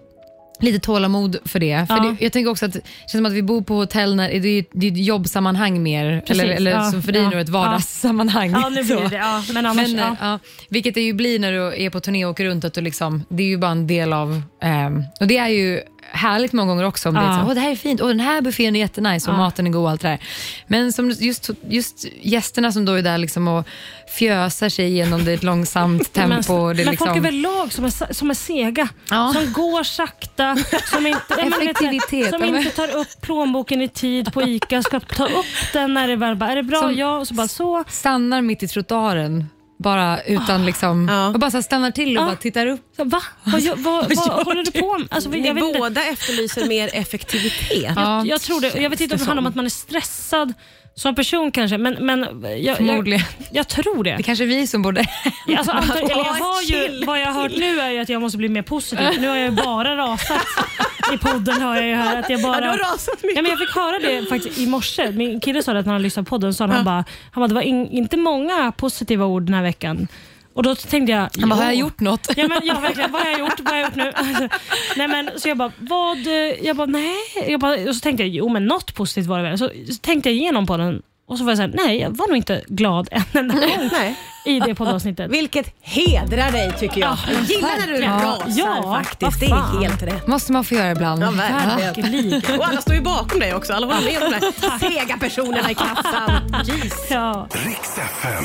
Speaker 4: Lite tålamod för det. För
Speaker 3: Ja.
Speaker 4: det. Jag tänker också att det känns som att vi bor på hotell, när, det är ju- det är ju ett jobbsammanhang mer.
Speaker 3: Precis,
Speaker 4: eller eller
Speaker 3: ja,
Speaker 4: som för dig
Speaker 3: ja,
Speaker 4: nu, ett
Speaker 3: ja.
Speaker 4: vardagssammanhang.
Speaker 3: Ja, nu blir
Speaker 4: Så.
Speaker 3: det det. ja, Men annars,
Speaker 4: Men,
Speaker 3: ja.
Speaker 4: eh, ja, vilket det ju blir när du är på turné och åker runt, att du liksom, det är ju bara en del av... ehm, och Det är ju härligt många gånger också. Om det, är
Speaker 3: Ja.
Speaker 4: så, här, Åh, det här är fint, och den här buffén är jättenice och
Speaker 3: Ja.
Speaker 4: maten är god och allt det där. Men som just, just gästerna som då är där liksom och fjösar sig igenom det i ett långsamt tempo.
Speaker 3: Men, alltså,
Speaker 4: och det är
Speaker 3: men
Speaker 4: liksom,
Speaker 3: folk överlag som är, som är sega,
Speaker 4: Ja.
Speaker 3: som går sakta, som inte, ja, men vet du,
Speaker 4: Effektivitet,
Speaker 3: som
Speaker 4: ja, men-
Speaker 3: inte tar upp plånboken i tid på ICA, ska ta upp den när det bara, bara, är det bra?
Speaker 4: Som-
Speaker 3: ja, och så bara så.
Speaker 4: stannar mitt i trottoaren. Bara utan liksom,
Speaker 2: Ja.
Speaker 4: och bara så här stannar till och
Speaker 3: Ja.
Speaker 4: bara tittar upp.
Speaker 3: så Va? Vad, gör- vad,
Speaker 4: Vad
Speaker 3: vad,
Speaker 4: gör
Speaker 3: håller du på med? Alltså,
Speaker 2: Ni
Speaker 3: jag, vet inte,
Speaker 2: båda efterlyser mer effektivitet.
Speaker 4: Ja,
Speaker 3: jag tror det. Jag vet inte om det handlar om att man är stressad som person kanske, men, men jag, jag,
Speaker 4: Förmodligen.
Speaker 3: jag tror det.
Speaker 4: Det kanske är vi som borde...
Speaker 3: Alltså, antar, eller jag
Speaker 2: Åh,
Speaker 3: har ju,
Speaker 2: chill.
Speaker 3: vad jag har hört nu är ju att jag måste bli mer positiv. Nu har jag ju bara rasat i podden. Har jag ju här, att jag bara,
Speaker 2: Ja, du har rasat mycket.
Speaker 3: Ja, men jag fick höra det faktiskt i morse. Min kille sa det att när han lyssnade på podden. Sa han, han, bara, han bara, det var in, inte många positiva ord den här veckan. Och då tänkte jag,
Speaker 4: Han bara, har jag
Speaker 3: "Jo."
Speaker 4: gjort något?
Speaker 3: Ja, men, ja, verkligen. Vad har jag gjort? Vad har jag gjort nu? Alltså, nej, men, så jag bara, vad? eh, Jag bara, nej. Jag bara, och så tänkte jag, jo men något positivt var det väl. Så, så tänkte jag igenom på den och så var jag såhär, nej jag var nog inte glad en enda gång
Speaker 2: Nej.
Speaker 3: i det poddavsnittet.
Speaker 2: Vilket hedrar dig tycker jag.
Speaker 3: Ja,
Speaker 2: jag gillar när du
Speaker 3: verkligen.
Speaker 2: rasar
Speaker 3: Ja,
Speaker 2: faktiskt.
Speaker 3: vad
Speaker 2: Det är
Speaker 3: fan.
Speaker 2: helt rätt.
Speaker 4: Måste man få göra ibland.
Speaker 2: Ja,
Speaker 3: Ah,
Speaker 2: verkligen.
Speaker 3: Verkligen.
Speaker 2: Och alla står ju bakom dig också. Alla var med de där sega personerna i kassan. Jeez.
Speaker 3: Ja.
Speaker 1: Riks FM.
Speaker 4: Kan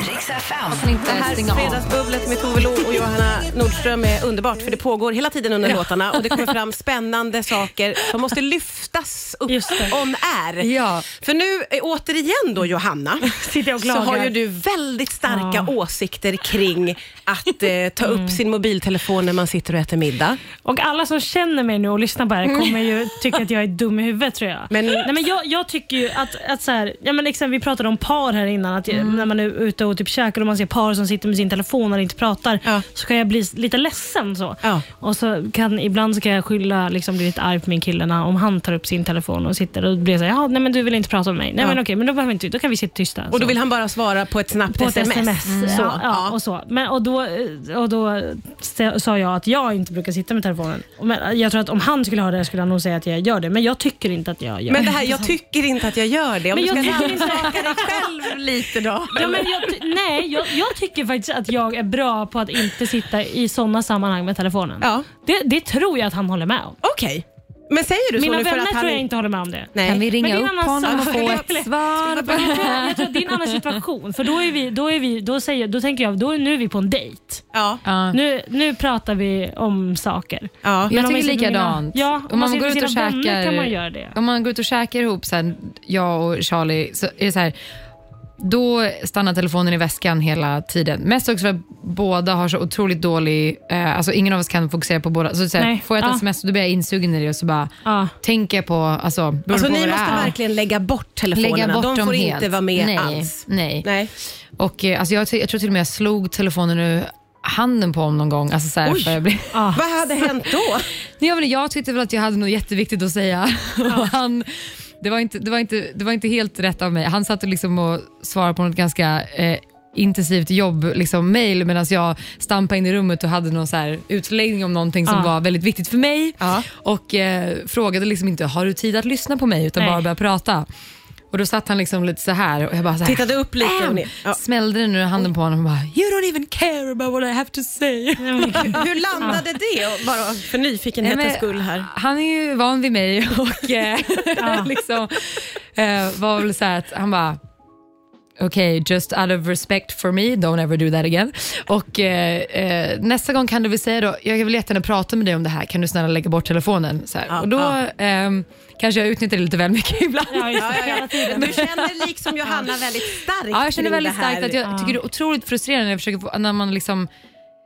Speaker 2: Det
Speaker 4: inte
Speaker 2: här
Speaker 4: stänga av.
Speaker 2: fredagsbubblet med Tove Lo och Johanna Nordström är underbart för det pågår hela tiden under låtarna och det kommer fram spännande saker som måste lyftas upp
Speaker 3: Just det.
Speaker 2: on air.
Speaker 4: Ja.
Speaker 2: För nu eh, återigen då Johanna,
Speaker 3: Sitter jag och
Speaker 2: så
Speaker 3: klagar.
Speaker 2: har ju du väldigt starka
Speaker 3: Ja. Mm.
Speaker 2: åsikter kring att eh, ta upp sin mobiltelefon när man sitter och äter middag.
Speaker 3: Och alla som känner mig nu och lyssnar på det här kommer ju tycka att jag är dum i huvudet tror jag.
Speaker 2: Mm. Men-
Speaker 3: Nej, men jag, jag tycker ju att, att så här, ja, men liksom, vi pratade om par här innan, att
Speaker 2: Mm.
Speaker 3: jag- när man är ute och typ käkar och man ser par som sitter med sin telefon och inte pratar,
Speaker 2: Ja.
Speaker 3: så kan jag bli s- lite ledsen. Så.
Speaker 2: Ja.
Speaker 3: Och så kan, ibland så kan jag skylla, liksom, bli lite arg på min kille när, om han tar upp sin telefon och sitter och blir såhär, "Jaha, nej men du vill inte prata med mig. Nej
Speaker 2: Ja.
Speaker 3: men okej, men då, behöver vi inte, då kan vi sitta tysta.
Speaker 2: Och då
Speaker 3: så.
Speaker 2: vill han bara svara på ett snabbt
Speaker 3: på ett
Speaker 2: sms.
Speaker 3: sms. Mm.
Speaker 2: Så så.
Speaker 3: Ja,
Speaker 2: Ja.
Speaker 3: ja, och så. Men, och då, och då st- sa jag att jag inte brukar sitta med telefonen. Men jag tror att om han skulle ha det skulle han nog säga att jag gör det, men jag tycker inte att jag gör
Speaker 2: Men
Speaker 3: det.
Speaker 2: det här, jag tycker inte att jag gör det. Om
Speaker 3: Men
Speaker 2: du
Speaker 3: jag
Speaker 2: ska
Speaker 3: tycker inte-
Speaker 2: rannsaka dig själv lite då.
Speaker 3: Ja, men jag, ty- nej, jag, jag tycker faktiskt att jag är bra på att inte sitta i sådana sammanhang med telefonen.
Speaker 2: Ja.
Speaker 3: Det, det tror jag att han håller med om.
Speaker 2: Okej. Men säger du
Speaker 3: Mina
Speaker 2: så nu för
Speaker 3: vänner
Speaker 2: att han...
Speaker 3: tror jag inte håller med om det.
Speaker 2: Nej.
Speaker 4: Kan vi ringa
Speaker 3: Men det är en
Speaker 4: upp
Speaker 3: annan
Speaker 4: honom och
Speaker 3: sak.
Speaker 4: få
Speaker 3: Eller-
Speaker 4: ett svar? på-
Speaker 3: Jag tror, jag tror att det är en annan situation. För då, är vi, då, är vi, då, säger, då tänker jag då är, nu är vi på en dejt.
Speaker 2: Ja.
Speaker 4: Ja.
Speaker 3: Nu, nu pratar vi om saker.
Speaker 2: Ja.
Speaker 3: Men
Speaker 4: Jag
Speaker 3: om man
Speaker 4: tycker
Speaker 3: sitter med
Speaker 4: likadant.
Speaker 3: mina- ja, om man sitter med sina vänner kan man göra det.
Speaker 4: Om man går ut och käkar ihop, så här, jag och Charlie, så är det så här, då stannar telefonen i väskan hela tiden. Mest också för att båda har så otroligt dålig, eh, alltså ingen av oss kan fokusera på båda. Så, så här,
Speaker 3: Nej.
Speaker 4: får jag ett
Speaker 3: Ja.
Speaker 4: sms och då blir jag insugen i det och så bara
Speaker 3: Ja.
Speaker 4: tänker jag på, alltså, beror
Speaker 2: Alltså
Speaker 4: på
Speaker 2: ni
Speaker 4: vad det
Speaker 2: måste
Speaker 4: är.
Speaker 2: verkligen lägga bort telefonerna.
Speaker 4: Lägga bort
Speaker 2: De får
Speaker 4: dem
Speaker 2: inte
Speaker 4: helt.
Speaker 2: vara med
Speaker 4: nej,
Speaker 2: alls.
Speaker 4: Nej.
Speaker 2: Nej.
Speaker 4: Och, eh, alltså, jag, ty- jag tror till och med jag slog telefonen ur handen på honom någon gång. Alltså, så här,
Speaker 2: Oj.
Speaker 4: för jag blev...
Speaker 3: Ja.
Speaker 2: Vad hade hänt då?
Speaker 4: Nej, jag, menar, jag tyckte väl att jag hade något jätteviktigt att säga. Och han, det, var inte, det, var inte, det var inte helt rätt av mig. Han satt och, liksom och svarade på något ganska eh, intensivt jobb, liksom mail, medan jag stampade in i rummet och hade någon så här utläggning om någonting som
Speaker 3: Ja.
Speaker 4: var väldigt viktigt för mig.
Speaker 2: Ja.
Speaker 4: Och eh, frågade liksom inte, har du tid att lyssna på mig? Utan
Speaker 3: Nej.
Speaker 4: bara började prata. Och då satt han liksom lite så här och jag bara så här,
Speaker 2: Tittade upp lite och
Speaker 4: Bam!
Speaker 2: ner. Ja.
Speaker 4: Smällde den ur handen på honom och bara, you don't even care about what I have to say.
Speaker 2: Hur landade det? Bara för nyfikenhetens
Speaker 4: Nej, men
Speaker 2: skull här.
Speaker 4: Han är ju van vid mig och eh, liksom, eh, var väl så här att han bara Okej, just out of respect for me, don't ever do that again. Och eh, eh, nästa gång kan du väl säga då, jag vill jättegärna prata med dig om det här, kan du snälla lägga bort telefonen? Så här.
Speaker 2: Ja,
Speaker 4: och då
Speaker 2: ja.
Speaker 4: ehm, kanske jag utnyttjar det lite väl mycket ibland.
Speaker 3: Ja, just det.
Speaker 2: Ja, ja,
Speaker 3: Hela
Speaker 2: ja.
Speaker 3: tiden.
Speaker 2: Du känner liksom Johanna väldigt starkt
Speaker 4: Ja, jag känner
Speaker 2: kring
Speaker 4: väldigt
Speaker 2: det här.
Speaker 4: starkt att jag tycker det är otroligt frustrerande när, jag försöker få, när man liksom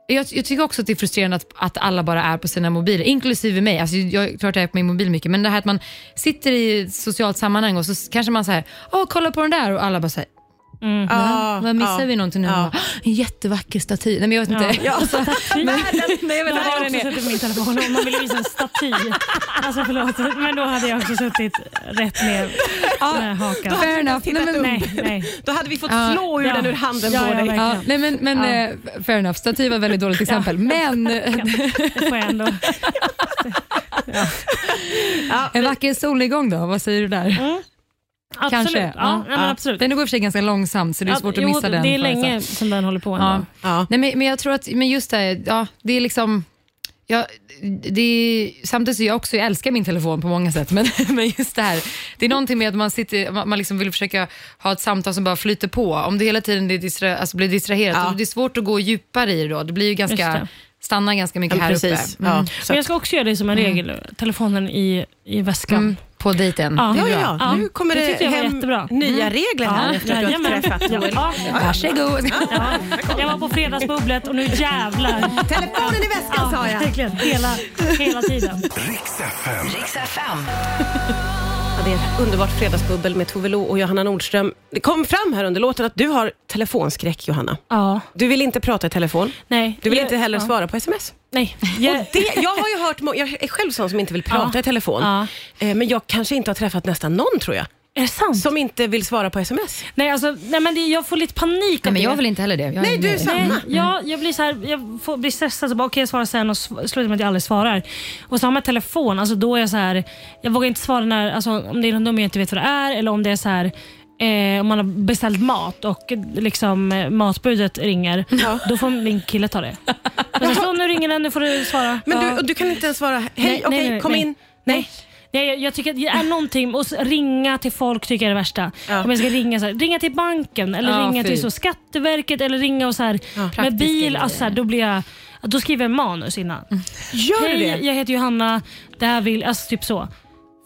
Speaker 4: jag, jag tycker också att det är frustrerande att, att alla bara är på sina mobiler, inklusive mig. Alltså, jag, klart jag är på min mobil mycket, men det här att man sitter i ett socialt sammanhang och så s- kanske man säger åh kolla på den där och alla bara säger
Speaker 2: Mm. Ja,
Speaker 4: vad missar
Speaker 2: ja.
Speaker 4: vi någonting nu?
Speaker 2: Ja.
Speaker 4: Ja. En jättevacker staty. Nej men jag vet inte.
Speaker 2: Ja.
Speaker 3: Men,
Speaker 4: Nej, jag vet
Speaker 3: jag
Speaker 4: inte vad
Speaker 3: hade
Speaker 4: den
Speaker 3: också
Speaker 4: är.
Speaker 3: suttit på min telefon om man ville visa en staty. Alltså förlåt, men då hade jag också suttit rätt ner med hakan.
Speaker 4: Fair enough. Nej,
Speaker 2: tittat
Speaker 4: men,
Speaker 2: upp.
Speaker 3: Nej, nej.
Speaker 2: Då hade vi fått
Speaker 4: Ja.
Speaker 2: slå ur
Speaker 3: Ja.
Speaker 2: den ur handen
Speaker 3: Ja,
Speaker 2: på
Speaker 3: ja,
Speaker 2: dig.
Speaker 3: verkligen.
Speaker 4: ja, nej, men, men
Speaker 3: Ja.
Speaker 4: eh, fair enough. Staty var ett väldigt dåligt exempel. Men
Speaker 3: Det får jag ändå.
Speaker 4: en vacker solnedgång då? Vad säger du där?
Speaker 2: Mm.
Speaker 3: Absolut.
Speaker 4: Kanske.
Speaker 3: Ja, nej, men absolut.
Speaker 4: Den går i och för sig ganska långsamt så det är
Speaker 3: Ja,
Speaker 4: svårt
Speaker 3: jo,
Speaker 4: att missa den.
Speaker 3: Det är
Speaker 4: på en
Speaker 3: länge
Speaker 4: sak.
Speaker 3: som den håller på ändå.
Speaker 4: Ja.
Speaker 2: Ja.
Speaker 4: Nej, men, men jag tror att men just det, här, ja, det är liksom... Ja, det är, samtidigt så jag också jag älskar min telefon på många sätt, men, men just det här. Det är någonting med att man, sitter, man man liksom vill försöka ha ett samtal som bara flyter på. Om det hela tiden det är distra, alltså blir distraherat,
Speaker 2: Ja.
Speaker 4: då det är svårt att gå djupare i det då. Det blir ju
Speaker 3: Just det.
Speaker 4: ganska, stannar ganska mycket här
Speaker 2: precis.
Speaker 4: uppe. Mm.
Speaker 2: Ja. Så
Speaker 3: Men
Speaker 2: att-
Speaker 3: jag ska också göra det som en regel. Telefonen i, i väskan.
Speaker 4: Mm. På dejten.
Speaker 3: Ja.
Speaker 2: Ja, ja, ja.
Speaker 3: Ja.
Speaker 2: Nu kommer
Speaker 3: Det
Speaker 2: det,
Speaker 3: tyckte jag var
Speaker 2: hem
Speaker 3: jättebra.
Speaker 2: nya
Speaker 4: Mm.
Speaker 2: regler här
Speaker 3: Ja,
Speaker 2: efter att du har
Speaker 3: jajamän.
Speaker 2: träffat Joel.
Speaker 3: Ja.
Speaker 4: Varsågod.
Speaker 3: Ja. Jag var på fredagsbubblet och nu jävlar.
Speaker 2: Telefonen i väskan sa jag.
Speaker 3: Verkligen, hela, hela tiden.
Speaker 1: Riks FM.
Speaker 2: Ja, det är ett underbart fredagsbubbel med Tove Lo och Johanna Nordström. Det kom fram här under låten att du har telefonskräck, Johanna.
Speaker 3: Ja,
Speaker 2: Du vill inte prata i telefon.
Speaker 3: nej.
Speaker 2: Du vill
Speaker 3: Jag-
Speaker 2: inte heller
Speaker 3: ja.
Speaker 2: svara på sms.
Speaker 3: Nej. Jag,
Speaker 2: Det, jag har ju hört, må- jag är själv sån som inte vill prata
Speaker 3: Ja.
Speaker 2: i telefon.
Speaker 3: Ja.
Speaker 2: Eh, Men jag kanske inte har träffat nästan någon, tror jag,
Speaker 3: är det sant?
Speaker 2: som inte vill svara på sms.
Speaker 3: Nej, alltså, nej men det, jag får lite panik
Speaker 4: Nej,
Speaker 3: av
Speaker 4: men jag
Speaker 3: det.
Speaker 4: vill inte heller det. Jag
Speaker 2: Nej,
Speaker 4: är-
Speaker 2: du är
Speaker 3: Nej,
Speaker 2: samma.
Speaker 3: jag, jag blir så här, jag får, blir stressad så bara okej jag svarar sen och sv- slutar med att jag aldrig svarar. Och så har man telefon, alltså då är jag så här, jag vågar inte svara när, alltså, om det är något nummer jag inte vet vad det är eller om det är så här Eh, om man har beställt mat och eh, liksom, eh, matbudet ringer, då får min kille ta det. Och så, så, nu ringer den, nu får du svara.
Speaker 2: Men
Speaker 3: Ja.
Speaker 2: du, och du kan inte ens svara, hej,
Speaker 3: Nej,
Speaker 2: okej,
Speaker 3: nej, nej,
Speaker 2: kom
Speaker 3: nej.
Speaker 2: in.
Speaker 3: Nej. Nej, jag, jag tycker att det är någonting, och s- ringa till folk tycker jag är det värsta.
Speaker 2: Ja.
Speaker 3: Om jag ska ringa, så här, ringa till banken eller
Speaker 4: Ja,
Speaker 3: ringa
Speaker 4: fy.
Speaker 3: till så, Skatteverket eller ringa och så här, med
Speaker 4: Praktiska
Speaker 3: bil.
Speaker 4: grejer.
Speaker 3: Alltså, så här, då, blir jag, då skriver jag manus innan.
Speaker 2: Mm. Gör du
Speaker 3: Hej,
Speaker 2: det?
Speaker 3: jag heter Johanna, det här vill... Alltså typ så.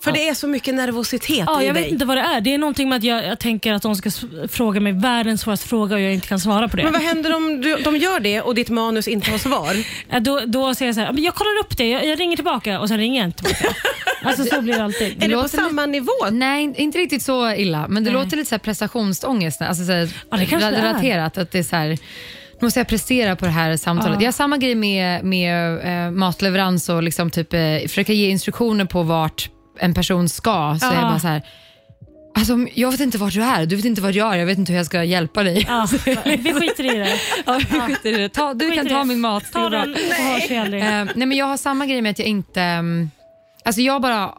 Speaker 2: För det är så mycket nervositet
Speaker 3: Ja,
Speaker 2: i
Speaker 3: jag
Speaker 2: dig.
Speaker 3: vet inte vad det är. Det är någonting med att jag, jag tänker att de ska s- fråga mig världens svåraste fråga och jag inte kan svara på det.
Speaker 2: Men vad händer om du, de gör det och ditt manus inte har svar?
Speaker 3: Ja, Äh, Då, då säger jag så här, "Ja, men jag kollar upp det, jag, jag ringer tillbaka och sen ringer jag inte tillbaka. alltså så blir det alltid.
Speaker 2: Är det på
Speaker 4: låter
Speaker 2: samma nivå?
Speaker 4: Nej, in- inte riktigt så illa, men det låter lite så här prestationsångest. Alltså så här,
Speaker 3: Ja, det kanske
Speaker 4: rel-
Speaker 3: det är.
Speaker 4: relaterat, att det är så här, nu måste jag prestera på det här samtalet. Jag har samma grej med, med eh, matleverans och liksom typ, eh, försöka ge instruktioner på vart en person ska. Så
Speaker 3: Ja.
Speaker 4: är det bara så här, Alltså, om- jag vet inte vart du är, du vet inte vad jag är, jag vet inte hur jag ska hjälpa dig.
Speaker 3: Ja, vi skiter i det.
Speaker 4: Ja, vi skiter i det. Ta, du
Speaker 3: Skiter
Speaker 4: kan
Speaker 3: i det.
Speaker 4: ta min mat. det
Speaker 3: Ta
Speaker 4: är bra.
Speaker 3: den så hörs vi aldrig.
Speaker 4: Eh, nej men jag har samma grej med att jag inte... mm, Alltså jag bara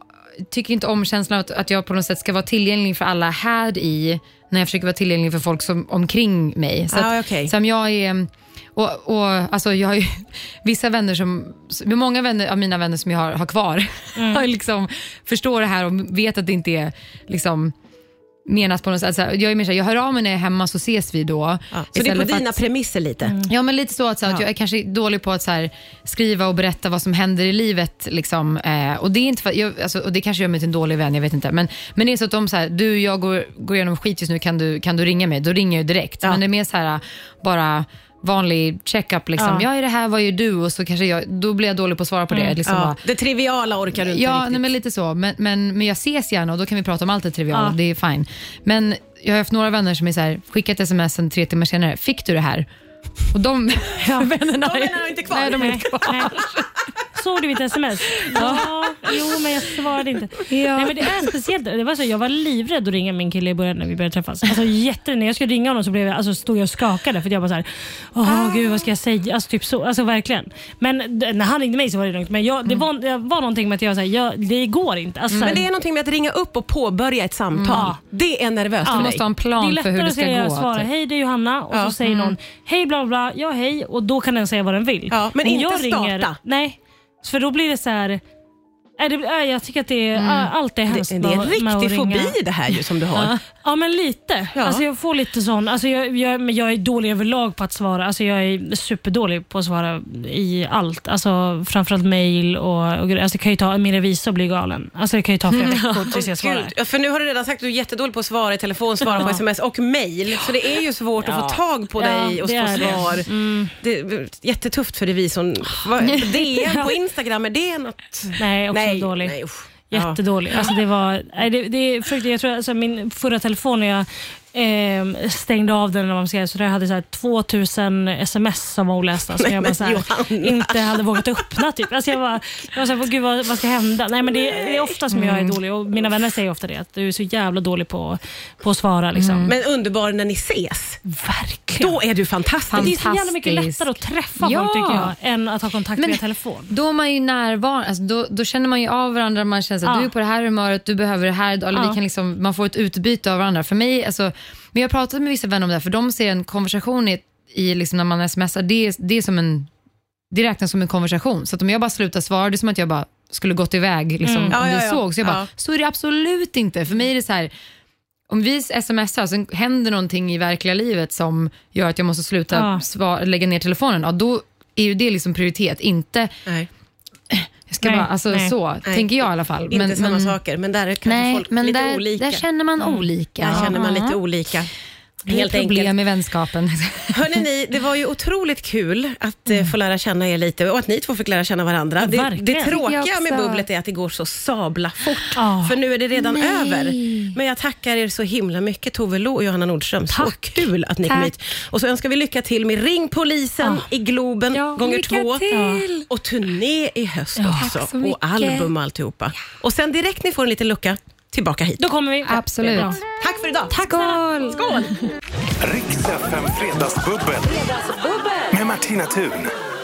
Speaker 4: tycker inte om känslan att, att jag på något sätt ska vara tillgänglig för alla här i när jag försöker vara tillgänglig för folk som, omkring mig. Så
Speaker 2: Ah,
Speaker 4: att,
Speaker 2: okej.
Speaker 4: så om jag är... mm, Och, och, alltså jag har ju vissa vänner som, med många vänner, av mina vänner som jag har, har kvar,
Speaker 2: Mm.
Speaker 4: har liksom, förstår det här och vet att det inte är liksom, menas på något sätt. Så här, jag är mer så här, jag hör av mig när jag är hemma så ses vi då.
Speaker 2: Ja. Ah. Så det är på
Speaker 4: Istället för att-
Speaker 2: dina premisser lite?
Speaker 4: Ja, men lite så att, så att jag är kanske dålig på att så här, skriva och berätta vad som händer i livet. Liksom. Eh, och, det är inte, för- jag, alltså, och det kanske gör mig till en dålig vän, jag vet inte. Men, men det är så att de så här, du, jag går, går igenom skit just nu, kan du, kan du ringa mig? Då ringer jag ju direkt. Men det är mer så här, bara vanlig check-up. Liksom.
Speaker 3: Ja.
Speaker 4: Jag är det här, vad gör du? Och så kanske jag, då blir jag dålig på att svara på det. Liksom,
Speaker 2: Ja.
Speaker 4: bara,
Speaker 2: Det triviala orkar du inte
Speaker 4: Ja,
Speaker 2: riktigt.
Speaker 4: nej, men lite så. Men, men, men jag ses gärna och då kan vi prata om allt det triviala.
Speaker 3: Ja.
Speaker 4: Det är fine. Men jag har haft några vänner som är så här, skickat sms en tre timmar senare. Fick du det här? Och de vännerna
Speaker 2: De vännerna är inte kvar.
Speaker 4: Nej, de är
Speaker 3: Nej,
Speaker 4: inte kvar.
Speaker 3: nej. Såg du mitt sms? Ja, jo men jag svarade inte. Nej, men det är speciellt. Det var så, jag var livrädd att ringa min kille i början när vi började träffas. Alltså, jätte, när jag skulle ringa honom så blev jag, alltså, stod jag och skakade för att jag bara såhär, åh
Speaker 4: Ah.
Speaker 3: gud vad ska jag säga? Alltså, typ så, alltså verkligen. Men d- när han ringde mig så var det lugnt. Men jag,
Speaker 4: Mm.
Speaker 3: det, var, det var någonting med att jag, så här, jag det går inte. Alltså,
Speaker 2: Men det är någonting med att ringa upp och påbörja ett samtal.
Speaker 3: Mm.
Speaker 2: Det är nervöst
Speaker 4: Du
Speaker 2: för
Speaker 4: måste
Speaker 2: dig.
Speaker 4: ha en
Speaker 3: det är
Speaker 4: plan för
Speaker 3: lättare
Speaker 4: hur det
Speaker 3: att
Speaker 4: ska
Speaker 3: säga,
Speaker 4: gå.
Speaker 3: svara
Speaker 4: typ. Mm.
Speaker 3: hej det är Johanna och
Speaker 2: Ja.
Speaker 3: så säger någon hej bla bla, bla, ja hej och då kan den säga vad den vill.
Speaker 2: Ja, men
Speaker 3: Om
Speaker 2: inte
Speaker 3: jag ringer,
Speaker 2: starta.
Speaker 3: Nej, för då blir det så här, är det, är, jag tycker att det är,
Speaker 4: Mm.
Speaker 3: äh, allt är hemskt
Speaker 2: Det, det
Speaker 3: med
Speaker 2: är
Speaker 3: att- med
Speaker 2: en
Speaker 3: att
Speaker 2: riktig
Speaker 3: ringa.
Speaker 2: fobi det här ju som du har.
Speaker 3: Ja men lite.
Speaker 2: Ja.
Speaker 3: Alltså jag får lite sån, alltså jag, jag, men jag är dålig överlag på att svara. Alltså jag är superdålig på att svara i allt. Alltså framförallt mail och, och grejer. alltså det kan ju ta, min revisor blir galen. Alltså det kan ju ta flera veckor tills jag svarar.
Speaker 2: Mm. Gud, ja, för nu har du redan sagt att du är jättedålig på att svara i telefon, svara på
Speaker 3: Ja.
Speaker 2: sms och mail. Så det är ju svårt att få
Speaker 3: Ja.
Speaker 2: tag på
Speaker 3: Ja,
Speaker 2: dig och
Speaker 3: det
Speaker 2: få
Speaker 3: är det. Mm.
Speaker 2: svar. Det är jättetufft för revisorn. Va- DN på Instagram, är det något?
Speaker 3: Nej, också dålig.
Speaker 2: Nej, usch. Ja.
Speaker 3: Jättedålig. Alltså det var, nej, det, det är fruktansvärt. Jag tror alltså min förra telefon när jag eh, stängde av den, eller vad man säger, så där hade jag så här 2000 sms som var olästa som
Speaker 2: Nej,
Speaker 3: jag
Speaker 2: men
Speaker 3: bara så här,
Speaker 2: Johanna.
Speaker 3: inte hade vågat öppna. Typ. Alltså jag, var, jag var så här, "Åh, gud vad, vad ska hända? Nej, men det, det är ofta som jag är dålig och mina vänner säger ofta det, att du är så jävla dålig på, på att svara. Liksom.
Speaker 2: Men underbar när ni ses.
Speaker 3: verkligen.
Speaker 2: Mm. Då är du fantastisk.
Speaker 3: det är så jävla mycket
Speaker 4: Fantastisk.
Speaker 3: lättare att träffa
Speaker 4: Ja.
Speaker 3: folk tycker jag, än att ha kontakt
Speaker 4: Men-
Speaker 3: via telefon.
Speaker 4: Då är man ju närvarande, alltså då, då känner man ju av varandra, man känner att
Speaker 3: Ja.
Speaker 4: du är på det här humöret, du behöver det här, eller
Speaker 3: Ja.
Speaker 4: vi kan liksom, man får ett utbyte av varandra. För mig, alltså, men jag har pratat med vissa vänner om det här, för de ser en konversation i, i liksom när man smsar, det, är- det, är som en, det räknas som en konversation. Så att om jag bara slutar svara, det är som att jag bara skulle gått iväg liksom, om
Speaker 2: Ja,
Speaker 4: vi
Speaker 2: ja, ja.
Speaker 4: såg. Så jag bara,
Speaker 2: Ja.
Speaker 4: så är det absolut inte. För mig är det så här, om vi smsar så händer någonting i verkliga livet som gör att jag måste sluta
Speaker 3: Ja.
Speaker 4: sva- lägga ner telefonen, ja, då är ju det liksom prioritet. Inte,
Speaker 2: Nej,
Speaker 4: jag ska
Speaker 3: Nej,
Speaker 4: bara, alltså
Speaker 3: nej.
Speaker 4: så
Speaker 2: Nej.
Speaker 4: tänker jag i alla fall.
Speaker 2: inte samma saker, men där är kanske
Speaker 4: Nej,
Speaker 2: folk
Speaker 4: men
Speaker 2: lite
Speaker 4: där,
Speaker 2: olika.
Speaker 4: där känner man olika.
Speaker 2: Där känner man lite
Speaker 4: Ja.
Speaker 2: olika.
Speaker 4: Det är
Speaker 2: Helt
Speaker 4: problem
Speaker 2: enkelt.
Speaker 4: i vänskapen.
Speaker 2: Hörrni, ni, det var ju otroligt kul att
Speaker 4: Mm.
Speaker 2: eh, få lära känna er lite och att ni två fick lära känna varandra. Det,
Speaker 3: verkligen.
Speaker 2: det
Speaker 4: Tycker
Speaker 2: tråkiga
Speaker 4: jag
Speaker 2: med
Speaker 4: också.
Speaker 2: bubblet är att det går så sabla fort,
Speaker 3: Ja.
Speaker 2: för nu är det redan
Speaker 4: Nej.
Speaker 2: över. Men jag tackar er så himla mycket, Tove Lo och Johanna Nordström. Så
Speaker 3: Tack.
Speaker 2: kul att ni kom
Speaker 4: Tack.
Speaker 2: hit. Och så önskar vi lycka till med Ring polisen i Globen
Speaker 4: Ja,
Speaker 2: gånger
Speaker 4: lycka
Speaker 2: två.
Speaker 4: till.
Speaker 2: Och turné i höst
Speaker 4: tack så
Speaker 2: också.
Speaker 4: mycket.
Speaker 2: Och album och alltihopa. Och sen direkt ni får en liten lucka, tillbaka hit.
Speaker 3: Då kommer vi.
Speaker 4: Absolut.
Speaker 3: Bra.
Speaker 2: Tack för idag.
Speaker 4: Tack Skål!
Speaker 2: Skål!
Speaker 1: Riks FM Fredagsbubbel. Med Martina Thun.